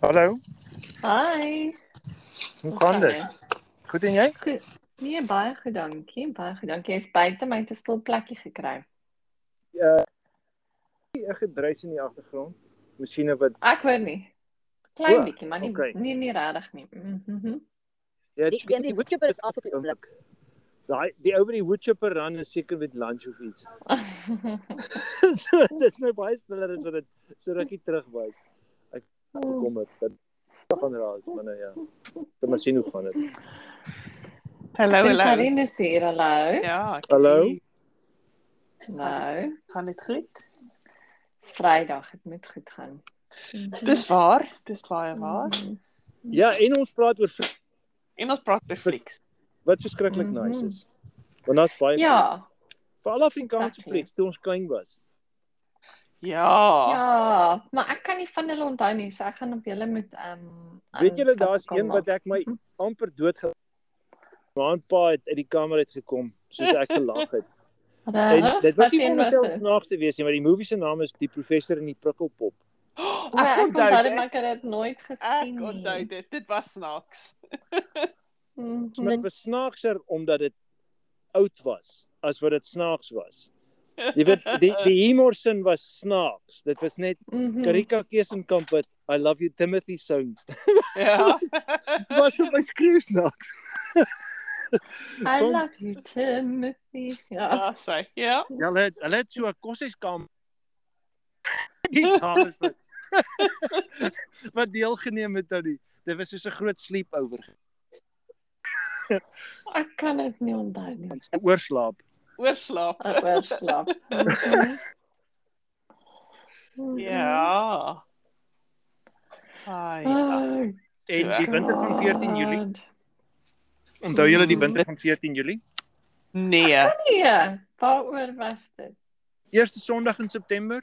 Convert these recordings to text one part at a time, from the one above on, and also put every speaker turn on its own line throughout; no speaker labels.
Hallo,
Hi.
hoe gaan dit? Goed en jy?
Goed. Nee, baie goed dankie. Baie goed dankie. Jy's buite my te stil plekkie gekry.
Ek gedruis in die agtergrond. Masjiene wat
Ek hoor nie. Klein
O,
bietjie, maar nie
oké.
nie nie regtig nie. Mhm.
ja,
Die, die, die woodchipper is af op die oomblik.
Daai die ou by die woodchipper ran is seker met lunch of iets. so dis nou baie stiller as wat dit so rukkie terug was. Ek bekommer dat dit gaan raas, maar nou ja. Kom ons sien hoe gaan dit.
Hallo, hallo.
Karine is hier. Hallo.
Ja, ek is
Hallo?
hier.
Hallo.
Gaan dit goed?
Dis Vrydag, dit moet goed gaan.
Dis waar, dis baie waar.
Mhm.
Ja, en ons praat oor fl-
En ons praat oor flieks.
wat verskriklik
Mhm.
nice is. Want daar's baie
Ja.
vir al Afrikaanse
Exactly.
flieks toe ons klein was.
Ja.
Ja, maar ek kan nie van hulle onthou nie. So ek gaan op julle met ehm Mhm. um,
Weet julle daar's een wat ek my amper dood ge Maan pa het uit die kamer uit gekom soos ek gelag het. En dit was nie veronderstel om snaaks te wees nie, maar die movie se naam is Die Professor en die Prikkelpop.
Oh,
Ek
ek
kon
onthou
daai maar
dit.
ek het dit nooit gesien
Ek
nie.
onthou dit. Dit was snaaks.
Mhm.
Maar dit was snaakser omdat dit oud was as wat dit snaaks was. Jy weet die die humor sin was snaaks. Dit was net
Mhm.
Karika Kesenkamp wat I love you Timothy sound.
Ja.
Was op my skreeu snaaks.
I
Kom.
love you Timothy. Ja.
Ja, sy. Ja.
Ja, hulle het- hulle het so 'n koshuiskamp die dames wat wat deelgeneem het aan die dit was soos 'n groot sleepover.
Ek kan dit nie onthou nie.
Ons oorslaap.
Oorslaap.
Ek oorslaap.
Ja. Ai. ja.
Oh,
En
So,
die winter van 14 Julie.
God.
Onthou julle
Hmm.
die winter van 14 Julie?
Nee.
Nee, waaroor was dit?
Eerste Sondag in September.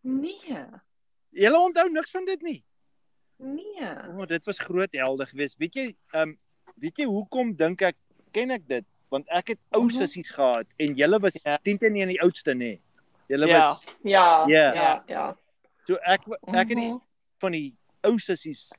Nee.
Julle onthou niks van dit nie.
Nee.
O, oh, dit was groot helde geweest. Weet jy, ehm um, weet jy hoekom dink ek ken ek dit? Want ek het ou
Mhm.
sissies gehad en julle was
Ja.
yeah. tente nie in die oudste nê. Julle
Ja.
yeah. was
Ja,
Ja.
ja, ja.
so ek wa- ek het die,
Mhm.
van die ou sissies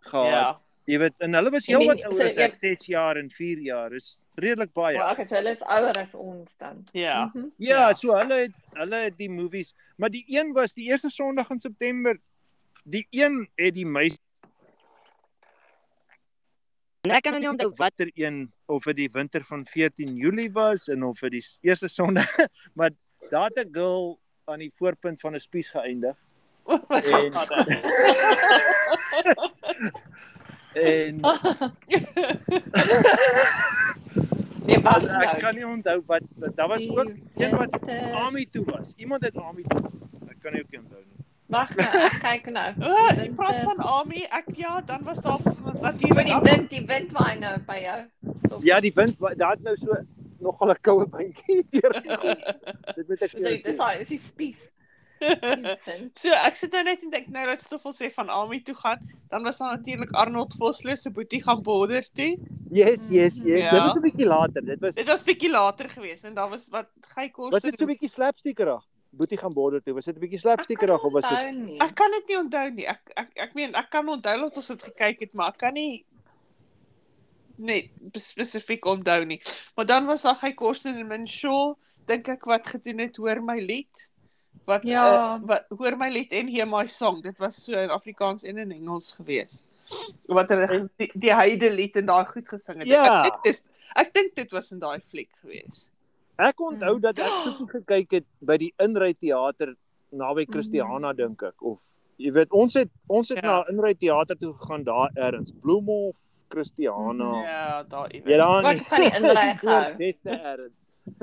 gehad.
Ja.
Yeah. Jy weet, en hulle was
En die-
heelwat ouer
so
as
jy-
ek 6 jaar en 4 jaar. Is redelik baie.
Maar okay, so hulle is ouer as ons dan.
Ja.
Mhm.
Ja,
Ja.
so hulle het hulle het die movies, maar die een was die eerste Sondag in September. Die een het die meisie
Ek kan nou nie onthou wat.
watter er een of dit die winter van 14 Julie was en of dit die eerste Sondag, maar daar het 'n girl aan die voorpunt van 'n spies geëindig
O, my
En-
God.
en
Oh, Nee, wag
ek kan
nou. Ja.
nie onthou wat wat- daar was ook een wat
Winter-
Ami toe was. Iemand het Ami toe. Ek kan nie ook nie onthou nie.
Wag nou, ek kyk nou.
O,
Ah,
jy praat van Ami. Ek ja, dan was daar
Oor die
natuurlik.
wind, die wind waai nou by jou. Stop.
Ja, die wind wa- daar het nou so nogal 'n koue bandjie deur. Dit moet ek
Dis hy, dis
sê.
hy, dis die spies. Die wind.
So ek sit nou net en dink nou dat Stoffel sê van Ami toe gaan, dan was daar natuurlik Arnold Vosloo se boetie gaan border toe.
Yes, yes, yes.
Mm.
Ja.
Ja.
Dit was 'n bietjie later. Dit was
Dit was bietjie later geweest en daar was wat gey kos.
Was dit so 'n bietjie slapstickerig? Boetie gaan border toe. Was dit 'n bietjie slapstickerig of was dit
Onthou nie.
Ek kan dit nie onthou nie. Ek ek ek meen ek kan onthou dat ons dit gekyk het, maar ek kan nie net spesifiek onthou nie. Maar dan was daar gey kos en min Shaw dink ek wat gedoen het hoor my lied. Wat
Ja.
eh, wat hoor my lied en hear my song. Dit was so in Afrikaans en in Engels geweest. Wat hulle ge- die, die heide lied en daai goed gesing het.
Ja.
Ek dink dis ek dink dit was in daai fliek geweest.
Ek
Mm.
onthou dat ek soekie gekyk het by die Inry Theater naby
Mm.
Christiana dink ek of jy weet ons het ons het ja.
Ja.
na Inry Theater toe gegaan daar ergens Bloemhof, Christiana.
Ja, daai
Ja, daar
Maar ek het van die inry gehou.
Dit ergens.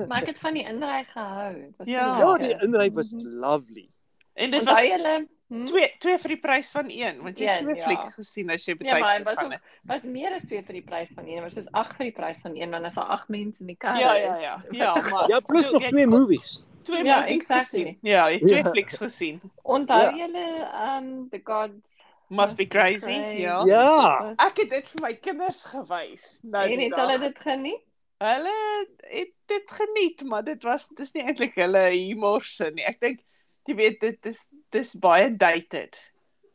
Maar ek het van die inry gehou. Dit was
Ja.
Ja, die Inry was
Mhm.
lovely.
En dit was
Onthou julle, hm,
twee twee vir die prys van een want jy het
Een,
twee
ja.
ja. flieks gesien as jy
Ja,
betyds
maar hy was
gegaan
ook-
het.
was meer as twee vir die prys van een, maar soos ag vir die prys van een want as daar ag mense in die kar
Ja
is.
ja ja. Ja, maar
Ja, plus
Toe,
nog
jy
twee
kon
movies.
Twee
Ja,
movies
exactly.
gesien. Ja, jy het twee
Ja.
ja. flieks gesien.
Onthou
Ja.
julle um the gods
Must be crazy. Ja. ja.
Ja.
Ek
Ek het dit vir my kinders gewys. Nou
en
die
het hulle
dag.
dit geniet?
Hulle het dit geniet, maar dit was dis nie eintlik hulle humor sin nie. Ek dink jy weet dit is dis baie dated.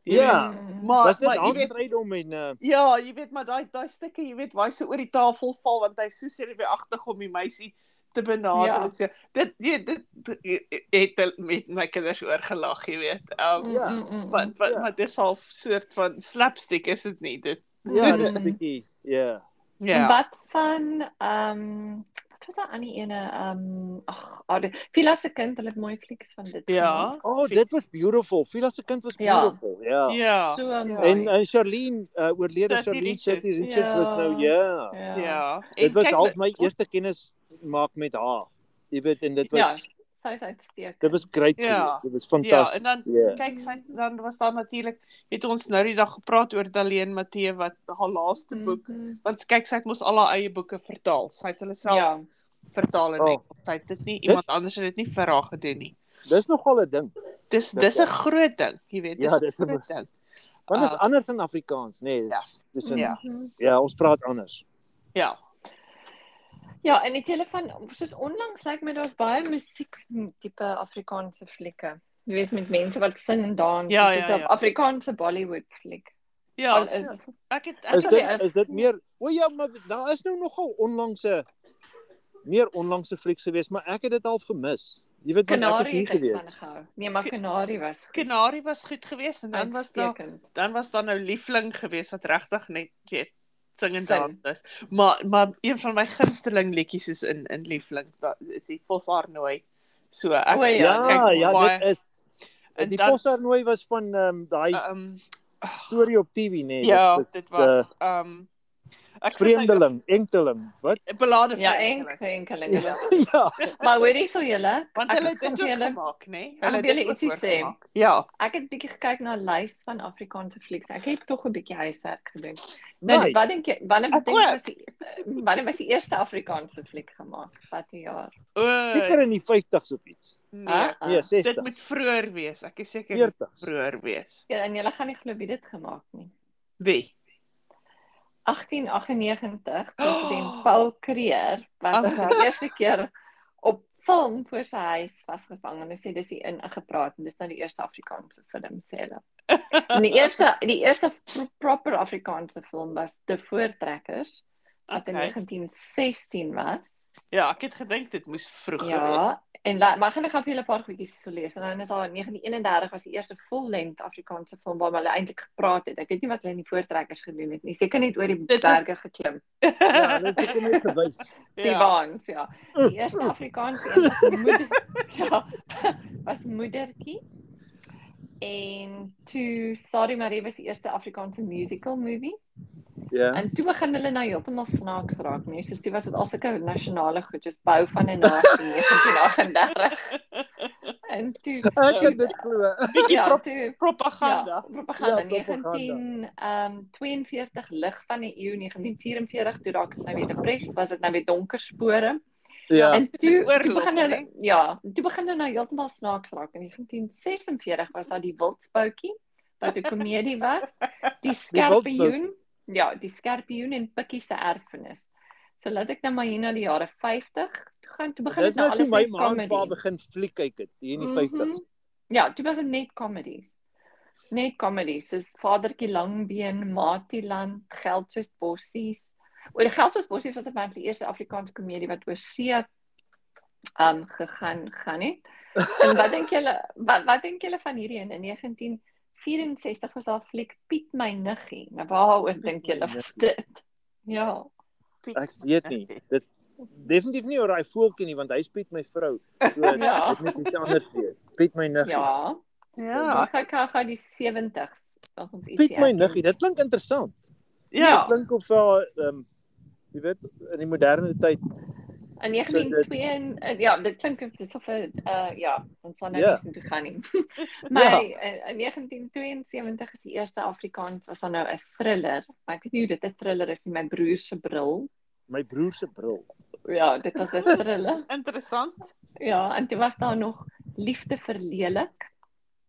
Ja.
Mm.
Maar
Was dit
Ah, maar jy weet
aanstrydom en uh
Ja, jy weet maar daai daai stukke, jy weet, waar hy so oor die tafel val want hy so sê hy agtig om die meisie te benader
Ja.
ja. en so. Dit jy dit dit- het hulle met my kinders oorgelag, jy weet. Um
Ja.
Mm, mm, mm.
wat wat
ja.
wat is half soort van slapstick is dit nie dit.
ja, dis 'n bietjie ja.
Ja.
Wat van ehm um, wat was daai ander ene ehm um, ag, Ade, Vila se kind, hulle het mooi flieks van dit.
Ja.
O, oh, dit was beautiful. Vila se kind was
Ja.
beautiful. Ja. ja.
Ja.
So mooi.
En uh, Charlene uh, oorlede
Cissy
Charlene
Richards.
City Richard ja. was
Ja.
nou ja. ja.
Ja.
Ja. En
Dit was
kyk,
half my eerste kennis maak met haar. Jy weet en dit was
Ja,
ja.
sy is uitstekend.
dit was great.
Ja.
Ja. Dit was
Ja,
fantasties.
en dan
Ja.
kyk sy dan was daar natuurlik het ons nou die dag gepraat oor Daleen Matee wat haar laaste boek
Mhm.
want kyk sy het mos al haar eie boeke vertaal. Sy het hulle self
Ja.
vertaal in
Oh.
oh. Engels. Hy het dit nie iemand anders het dit nie vir haar gedoen nie.
Dis nogal 'n ding.
Dis
Dit
dis
wel.
'n groot ding, jy weet.
Ja, dis 'n-
groot ding.
Want dit is
Ah.
anders in Afrikaans, nê? Nee, dis dis in ja.
Ja.
Mhm.
ja, ons praat anders.
Ja.
Ja, en het julle van soos onlangs lyk my daar's baie musiek tipe Afrikaanse flieke. Jy weet met mense wat sing en dans,
Ja,
soos
ja,
'n
ja.
Afrikaanse Bollywood fliek.
Ja,
Al eh, is-
so, ek het ek
Is
het,
Sorry,
dit
ek-
is dit meer O ja, maar daar is nou nogal onlangse meer onlangse flieks gewees, maar ek het dit al gemis. Jy weet want ek was
Kanari
hier
het ek van
gewees.
gehou. Nee, maar Kanari was goed.
Kanari was goed geweest en dan was daar
Uitstekend.
dan was daar nou Liefling geweest wat regtig net jy weet sing en
Sing.
dans is. Maar maar een van my gunsteling liedjies is in in Liefling. Daar is die Voshaar nooi. So ek
O, ja.
Ja,
kyk
ja,
baie-
dit is
en
die
dan-
Vosarnooi was van ehm um, daai
Ehm um,
storie op TV nê.
ja,
is,
dit
eh,
was ehm um, ek sit nou-
vreemdeling, enkeling. Wat?
belade
Ja,
vreemdeling.
enkel enkeling.
ja.
Maar hoorie so julle,
Want
Ek
hulle het
gaan
dit
vir
ook
julle-
gemaak, nê? Nee?
gaan vir julle
ook
ietsie sê.
oorgemaak. Ja.
ek het bietjie gekyk na lys van Afrikaanse flieks. Ek het tog 'n bietjie huiswerk gedoen. Nou,
Nee,
wat dink jy, wanneer
Ek
dink jy was die wanneer was die eerste Afrikaanse fliek gemaak? Watter jaar?
O,
seker in die 50s of iets.
nee.
Ah, ah.
Nee,
Dit
60s,
moet vroeër wees. Ek is seker dit
40s.
moet vroeër wees.
Ja, en julle gaan nie glo wie dit gemaak nie.
Wie?
1898 president oh, Paul Creer was
Oh.
vir die eerste keer op film voor sy huis vasgevang en hulle sê dis die in gepraat en dis nou die eerste Afrikaanse film sê hulle. En die eerste die eerste pro- proper Afrikaanse film was The Voortrekkers wat okay.
Okay.
in 1916 was.
Ja, ek het gedink dit moes vroeg wees.
Ja, en la, maar gaan ek gaan vir julle 'n paar goedjies so lees en dan is daar in 1931 was die eerste vollengte Afrikaanse film waarmee hulle eintlik gepraat het. Ek weet nie wat hulle in die Voortrekkers gedoen het nie. Seker net oor die
Dit was-
berge geklim.
Ja, dit het net gewys.
Die ja. waans, ja. Die eerste Afrikaanse een was moeder, ja, was moedertjie. En toe Sorry Marie was die eerste Afrikaanse musical movie.
Ja.
En toe begin hulle nou heeltemal snaaks raak, nee. Soos toe was dit al sulke nasionale goed, soos bou van 'n nasie 1938. En toe
Ek kan dit glo.
Bietjie
ja,
prop-
toe
propaganda.
Ja, propaganda
Ja, propaganda.
19 ehm 42 lig van die eeu 1944 toe raak dit nou weer depress, was dit nou weer donker spore.
Ja.
En toe, toe
Oorlog,
begin hulle
né?
ja, toe begin hulle nou heeltemal snaaks raak. In 1946 was daar die wildspoutjie wat 'n komedie was. Die skerpioen. Ja, die skerpioen en Pikkie se erfenis. So laat ek nou maar hier na die jare 50 toe gaan toe begin
Dis
dit nou
nou toe
alles
my
net
ma en pa
comedy.
begin fliek kyk het hier in die
Mhm.
50s.
Ja, toe was dit net comedies. Net comedies soos Vadertjie Langbeen, Matieland, Geld soos bossies. Oor Geld soos bossies was dit my die eerste Afrikaanse komedie wat oor see um gegaan gaan het. En wat dink julle wat wat dink julle van hierdie een? in 1964 was daar 'n fliek Piet my niggie. Nou waaroor dink julle was dit? Ja.
Ek weet nie. Dit definitief nie oor daai voeltjie nie want hy spiet my vrou. So
Ja.
dit moet iets anders wees. Piet my niggie.
Ja.
Ja.
Ons gaan kyk gou die 70s. Wat ons ietsie
Piet my
erken.
niggie, dit klink interessant.
Ja.
Dit klink of wel ehm jy weet in die moderne tyd.
In
So dit-
1902 en- en ja, dit klink of dit of 'n uh, ja, ons sal nou
Ja.
yeah. nie toe gaan nie. maar in, in 1972 is die eerste Afrikaans was dan nou 'n thriller. Maar ek weet nie hoe dit 'n thriller is nie, my broer se bril.
My broer se bril.
Ja, dit was 'n thriller.
Interessant.
ja, en dit was daar nog liefde verlelik.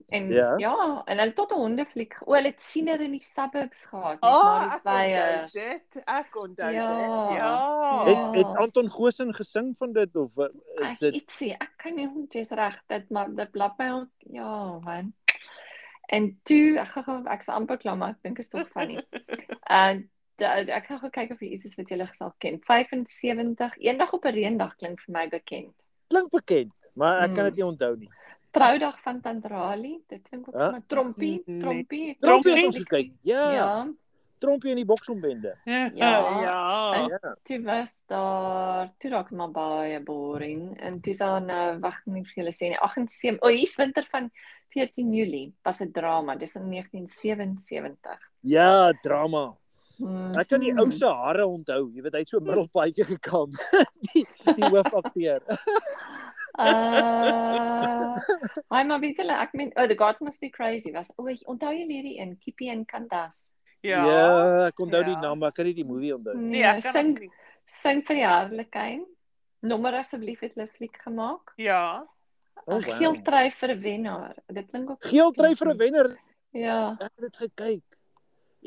En ja,
Ja.
ja en hulle het tot 'n hondefliek. O, hulle het siener in die suburbs gehad, met
O,
Marius
ek onthou
Beyer.
dit. Ek onthou
Ja.
dit. Ja.
Het
Ja.
het Anton Goosen gesing van dit of uh, is
Ek
dit
ietsie, ek kan nie ontes reg dit maar dit blap my ook. Ja, man. En toe ek gaan gou- ek's amper klaar maar ek dink is tog funny. En da- ek gaan gou kyk of hier iets is wat julle sal ken. 75 eendag op 'n reendag klink vir my bekend.
Klink bekend, maar ek kan
Mm.
dit nie onthou nie.
Troudag van Tandrali, dit klink ook
Huh?
maar trompie,
Nee.
trompie.
Trompie het
Trompie?
ons gekyk. Ja,
Ja,
trompie in die boksombende.
Ja.
Ja.
ja.
Ja.
toe was daar, toe raak dit maar baie boring en dis aan nou wag ek nie vir julle sê nie. 78, o, hier's winter van 14 Julie, was 'n drama, dis in 1977.
Ja, drama.
Mm.
Ek kan die ou se hare onthou. Jy weet hy het so middelpaadjie gekam. die die hoofakteur.
Uh, hy maar weet julle, ek meen, oh, the Garden of the Crazy was. O, oh, onthou jy hierdie een, Kippie en Candace?
Ja.
ja, ek onthou die
Ja.
naam, maar ek kan nie die movie onthou. nie.
Nee, ek kan
sing
ook nie.
sing vir die harlekin. Nommer asseblief het hulle fliek gemaak.
Ja.
Oh,
Oh, wow.
wow.
Geel trui vir 'n wenner. Dit klink ook
Geel trei vir 'n wenner.
Ja,
Ek het dit gekyk.
Eh,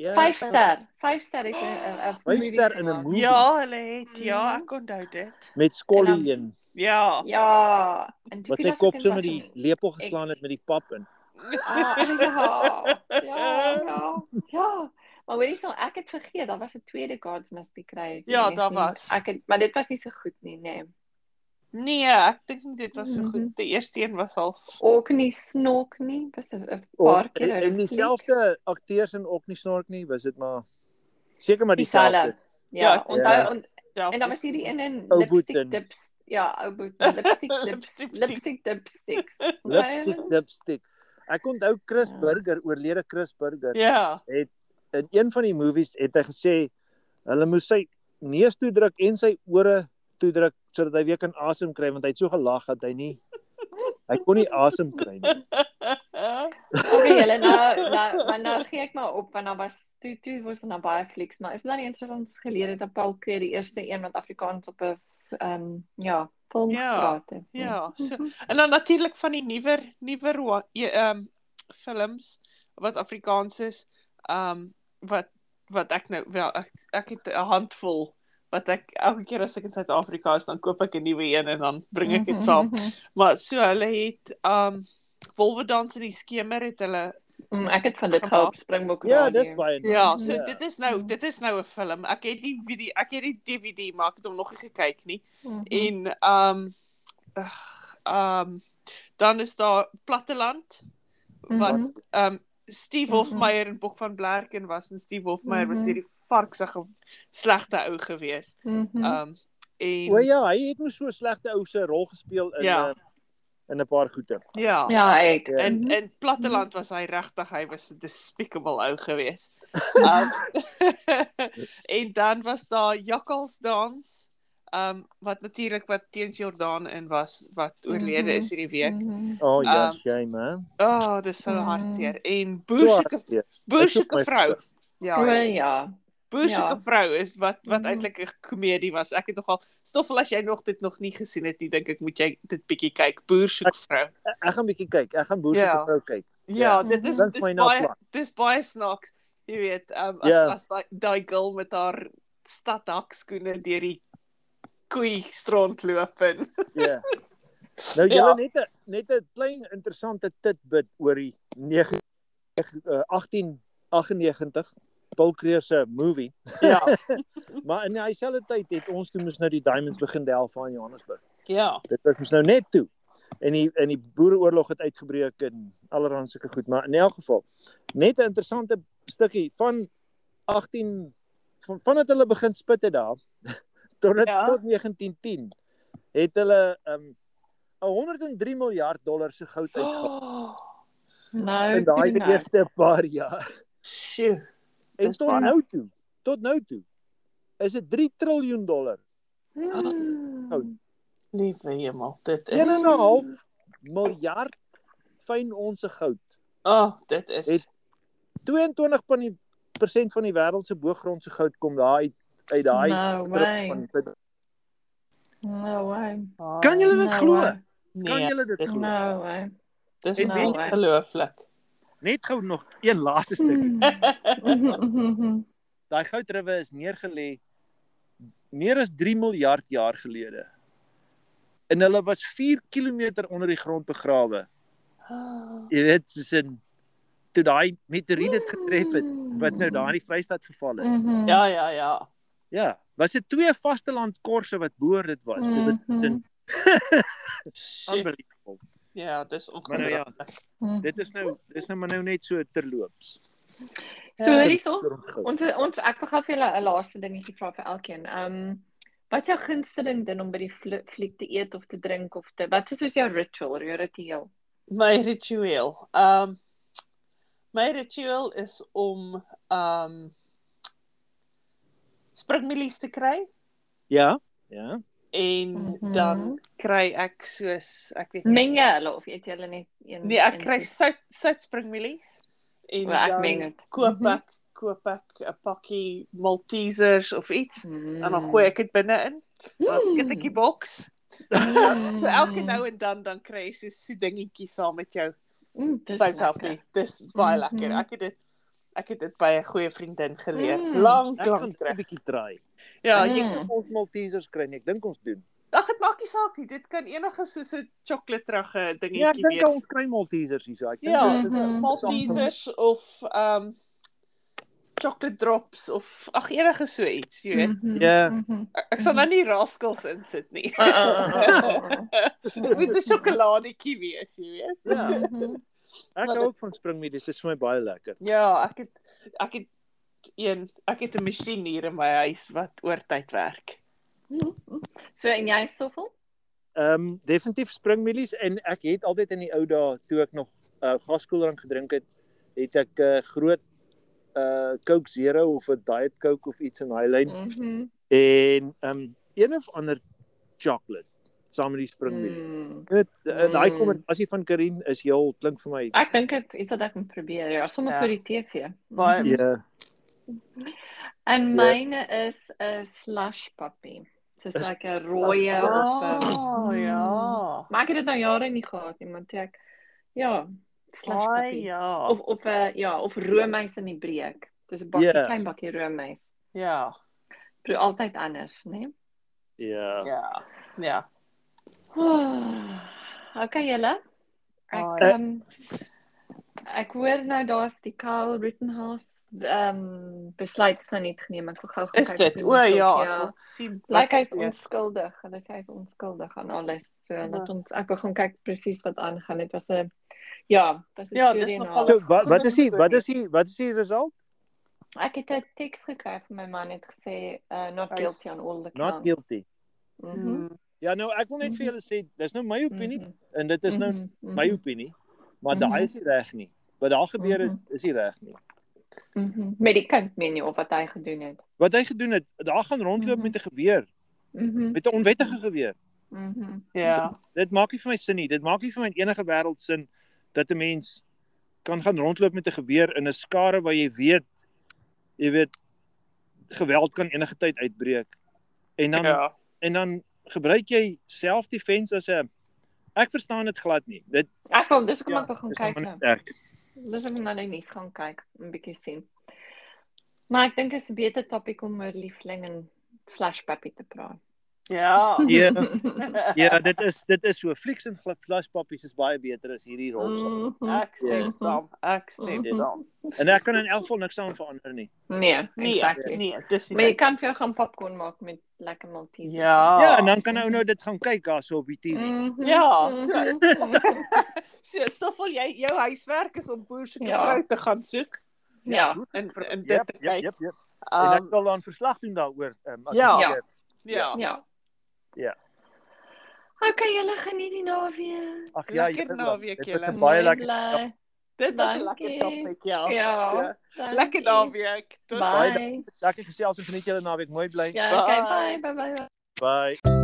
Ja.
5 ster. 5 ster het 'n 'n
Vyf
movie
ster in 'n
gemaak.
movie.
Ja, hulle het.
Mm.
Ja, ek onthou dit.
Met
En
Scully
dan-
en
Ja.
Ja, en
wat sy
was
kop
ek in
so met
was
die lepel geslaan het met die pap in.
Ah, ja, ja, ja, ja. Maar weet jy so, ek het vergeet, daar was 'n tweede Gods Must Be Crazy.
Ja,
Net
daar
nie-
was.
Ek het, maar dit was nie so goed nie, nê. Nee.
Nee, ek dink nie dit was so
Mhm.
goed. Die eerste een was half.
Ook nie snok nie, was 'n 'n
Oh,
paar keer.
en, en dieselfde akteurs en ook nie snork nie, was dit maar seker maar
dieselfde.
dieselfde.
Ja,
Ja,
ja, onthou
ja.
on,
Ja.
en dan was hierdie een in
Ou
lipstick
Boeten.
dips. Ja, ou boet, lipstick dips,
Lipstick stick.
lipstick dipsticks.
Lipstick,
Onthou?
lipstick. Ek onthou Chris
Ja.
Burger, oorlede Chris Burger.
Ja.
in een van die movies het hy gesê hulle moes sy neus toedruk en sy ore toedruk sodat hy weer kan asem kry want hy het so gelag dat hy nie hy kon nie asem kry nie.
Okay, julle nou nou maar nou gee ek maar op want daar was toe toe was daar baie flieks, maar is dit dan nie interessant ons geleer het dat Paul Kreer die eerste een wat Afrikaans op 'n ehm um, ja, film
Ja,
gepraat het. Mhm.
Ja, so en dan natuurlik van die nuwer nuwer wa- e- ehm films wat Afrikaans is, ehm wat wat ek nou wel ek, ek het 'n handvol wat ek elke keer as ek in Suid-Afrika is, dan koop ek 'n nuwe een en dan bring ek dit saam.
Mhm.
Maar so hulle het ehm Wolwe dans in die skemer het hulle
Mm, ek het van dit
Gemaak.
gehou op Springbok Radio.
Ja, dis baie. nice.
ja, so
Ja.
dit is nou dit is nou 'n film. Ek het die video ek het die DVD maar ek het hom nog nie gekyk nie.
Mhm.
en ehm um, ehm um, dan is daar Platteland
Mhm.
wat ehm um, Steve
Mhm.
Hofmeyer en Bok van Blerken was en Steve Hofmeyer was
Mhm.
hierdie varksige slegte ou gewees.
Mhm.
Ehm um, en
O ja, hy het mos so 'n slegte ou se rol gespeel in
Ja.
ja. in 'n paar goeie.
ja. ja.
Ja, ek.
Ja.
En
Mhm.
in Platteland was hy regtig hy was 'n despicable ou gewees. Um, en dan was daar Jakkals dans. Ehm um, wat natuurlik wat teens Jordaan in was wat oorlede
Mhm.
is hierdie week.
Mhm.
O oh, ja,
Ehm,
shame man.
Oh, dis so
Mm.
hartseer. En
So
boersoeke
Ja. hartseer. Ek soek
boersoeke
my
vrou.
vrou.
O
Ja,
ja.
boersoeke
ja.
vrou is wat wat
Mm.
eintlik 'n komedie was. Ek het nogal stoffel as jy nog dit nog nie gesien het nie, dink ek moet jy dit bietjie kyk. Boersoeke vrou.
Ek, ek gaan bietjie kyk. Ek gaan boerse
Ja.
yeah. vrou kyk.
Ja,
Ja.
dit is
Klink
dis
my na
baie
plan.
dis baie snaaks, jy weet, um, as
Ja.
as daai daai girl met haar stadhakskoene deur die koei strand loop en
Ja. Nou jy
Ja.
ja. net 'n net 'n klein interessante tidbit oor die 9 eh, 1898 Paul Creer se movie.
ja,
Maar in dieselfde tyd het ons toe mos nou die diamonds begin delf aan Johannesburg.
ja,
Dit was mos nou net toe. En die en die boereoorlog het uitgebreek en allerlei sulke goed, maar in elk geval net 'n interessante stukkie van 18 van vandat hulle begin spit het daar tot dit,
Ja.
ja. tot 1910 het hulle um 'n 103 miljard dollar se goud uitgehaal
oh,
Nou.
in daai
toe nou.
eerste paar jaar.
sjoe,
En
Dis
tot
baie.
nou toe, tot nou toe is dit 3 triljoen dollar.
Mm.
Goud.
liewe hemel,
Ja,
dit is
1.5 miljard fyn onsse goud.
oh, dit is
Het- 22% van die wêreld se bogrondse goud kom daar uit uit daai
No
strip
way.
van
No way.
Kan julle dit
No
glo?
way.
Kan julle dit
dit-
glo?
No way.
Dis
En
nou
weet-
ongelooflik.
Net gou nog een laaste stuk.
Mm. Mhm.
Daai goudruwe is neergelê meer as 3 miljard jaar gelede. En hulle was 4 km onder die grond begrawe. Jy weet soos in toe daai meteoriet dit getref het wat nou daar in die Vrystaat geval het.
Mhm.
Ja, ja, ja.
Ja, was dit twee vastelandkorse wat boor dit was. Dit was
Mhm.
Shit.
unbelievable.
Ja, dis
Maar nou ja,
ongelukkig.
dit is nou dis nou maar nou net so terloops.
So
Ja.
hoorie so.
Vir ons gou.
Ons ons ek wil gou vir julle 'n laaste dingetjie vra vir elkeen. Ehm um, wat is jou gunsteling ding om by die fli- fliek te eet of te drink of te wat is soos jou ritual, jou ritueel?
My ritueel. Ehm um, my ritueel is om ehm um, springmelies te kry
Ja, ja.
en mm
Mhm.
-hmm. dan kry ek soos ek weet nie.
Meng jy hulle of eet jy hulle net een?
Nee, ek
een
kry
pies?
sout sout springmelies en
Wel, ek
dan
meng dit.
koop
Mhm.
ek koop ek 'n pakkie Maltesers of iets mm.
Mm.
en dan gooi ek dit binne in. Dan skiet ek die boks.
Mm.
So elke nou en dan dan kry jy so so dingetjies saam met jou
Mm, dis
Sout help
lekker.
nie. Dis baie
Mhm.
lekker. Ek het dit ek het dit by 'n goeie vriendin geleer.
Mm.
Lank
Ek gaan
lank
dit 'n
terug.
bietjie try.
Ja,
Mm.
jy
Ek dink ons Maltesers kry nie. Ek dink ons doen.
ag dit maak nie saak nie. Dit kan enige soos 'n chocolaterige
Ja, ek
dingetjie
dink ons
wees.
kry Maltesers hierso. Ek dink
Ja,
dit is
dis
Mhm.
een-
'n Maltesers of ehm um, chocolate drops of ag enige so iets, jy weet.
Mhm,
Ja.
mhm.
Ek- Ek sal nou nie rascals insit nie.
Uh, uh, uh, uh,
Dit moet 'n sjokoladetjie wees, jy weet.
Ja,
uh. Mhm.
ek
Maar
hou ook van springmelies. Dit is vir my baie lekker.
Ja, ek het ek het een ek het 'n masjien hier in my huis wat oortyd werk.
So en jy Stoffel?
Ehm um, definitief springmelies en ek het altyd in die ou dae toe ek nog uh, gaskoeldrank gedrink het, het ek 'n uh, groot uh Coke Zero of 'n Diet Coke of iets in daai lyn
Mhm.
en ehm um, een of ander chocolate saam met die springmelie.
Mm.
Dit mm. daai
Mm.
kombinasie van Karin is heel klink vir my
Ek dink dit iets wat ek moet probeer. Ja, sommer
Ja.
vir die TV.
Baie
ja,
En myne is 'n slush puppy. Dis
Is-
like 'n rooi of 'n
Oh, ja.
Maar ek het dit nou jare nie gehad nie, maar toe ek ja, slush
Ai
puppy.
ja.
Of of 'n ja, of roomys in die breek. Dis 'n bakkie
Ja.
klein bakkie roomys.
Ja.
Proe altyd anders, né? Nee?
ja.
Ja. Ja.
Oh, okay julle.
Ah,
Ek
ja.
um, ek hoor nou daar's die Karl Rittenhouse ehm um, besluit is nou nie geneem ek wil gou gaan
Is
kyk
dit?
hoe
O
dit
ja,
op-
ek wil sien. wat
Lyk hy's
dit is. Ja.
onskuldig. Hulle sê hy's onskuldig aan alles. So laat ons ek wil gaan kyk presies wat aangaan. Dit was 'n ja, was 'n
Ja,
studie
dis
en
nogal-
al.
So wat wat is die wat is die wat is die result?
Ek het 'n teks gekry van my man het gesê uh, not
Hy's
guilty on all the counts.
Not guilty.
Mhm.
Mm.
Ja nou ek wil net vir julle sê dis nou my opinie mm
Mhm.
-hmm. en dit is nou
Mhm. Mhm.
my opinie, maar
Mhm.
daai is nie reg nie. Wat daar gebeur het
Mhm.
is nie reg nie.
Mhm. Met die kind meen jy of wat hy gedoen het?
Wat hy gedoen het, daar gaan rondloop
Mhm.
met 'n geweer,
Mhm.
met 'n onwettige geweer.
Mhm.
Ja.
Dit maak nie vir my sin nie. Dit maak nie vir my in enige wêreld sin dat 'n mens kan gaan rondloop met 'n geweer in 'n skare waar jy weet jy weet geweld kan enige tyd uitbreek. En dan ja.
Ja.
en dan gebruik jy self-defense as 'n ek verstaan dit glad nie. Dit
Ek wil dis kom
Ja,
ek begin
is nou
kyk
maar
nou.
net ek.
Dis ek nou net nuus gaan kyk, 'n bietjie sien. Maar ek dink dit is 'n beter topik om oor liefling en slash puppy te praat.
Ja.
Ja, ja, dit is dit is so flieks en gla- flaspappies is baie beter as hierdie rolse.
Mhm.
Ek stem
Ja.
saam. Ek stem
Mhm.
saam.
En ek kan in elk geval niks aan verander nie.
Nee,
Nee,
exactly.
nee, dis
Maar jy
nie.
kan vir jou gaan popcorn maak met lekker Maltese.
Ja.
Ja, en dan kan ou nou dit gaan kyk daarso op die TV.
Mhm.
Ja, so.
Mhm.
So, Stoffel, jy jou huiswerk is om boer se
Ja.
vrou te gaan soek
ja.
en en dit
Jep,
te
jep,
kyk.
jep, jep. En ek
Um,
wil dan verslag doen daaroor. Um,
Ja.
Ja.
Ja.
Ja.
Ja.
Okay, julle geniet die naweek.
Ag ja, nou-
Lekker
julle,
naweek,
dit was
julle.
'n baie
Mooi
lekker
bly.
Dit was 'n
Dankie.
lekker topik, ja.
Ja.
Lekker nou
dankie.
naweek. Tot
Baie
Bye.
lekker gesels en geniet julle naweek. Mooi bly.
Ja, okay,
Bye.
bye bye bye. bye.
Bye.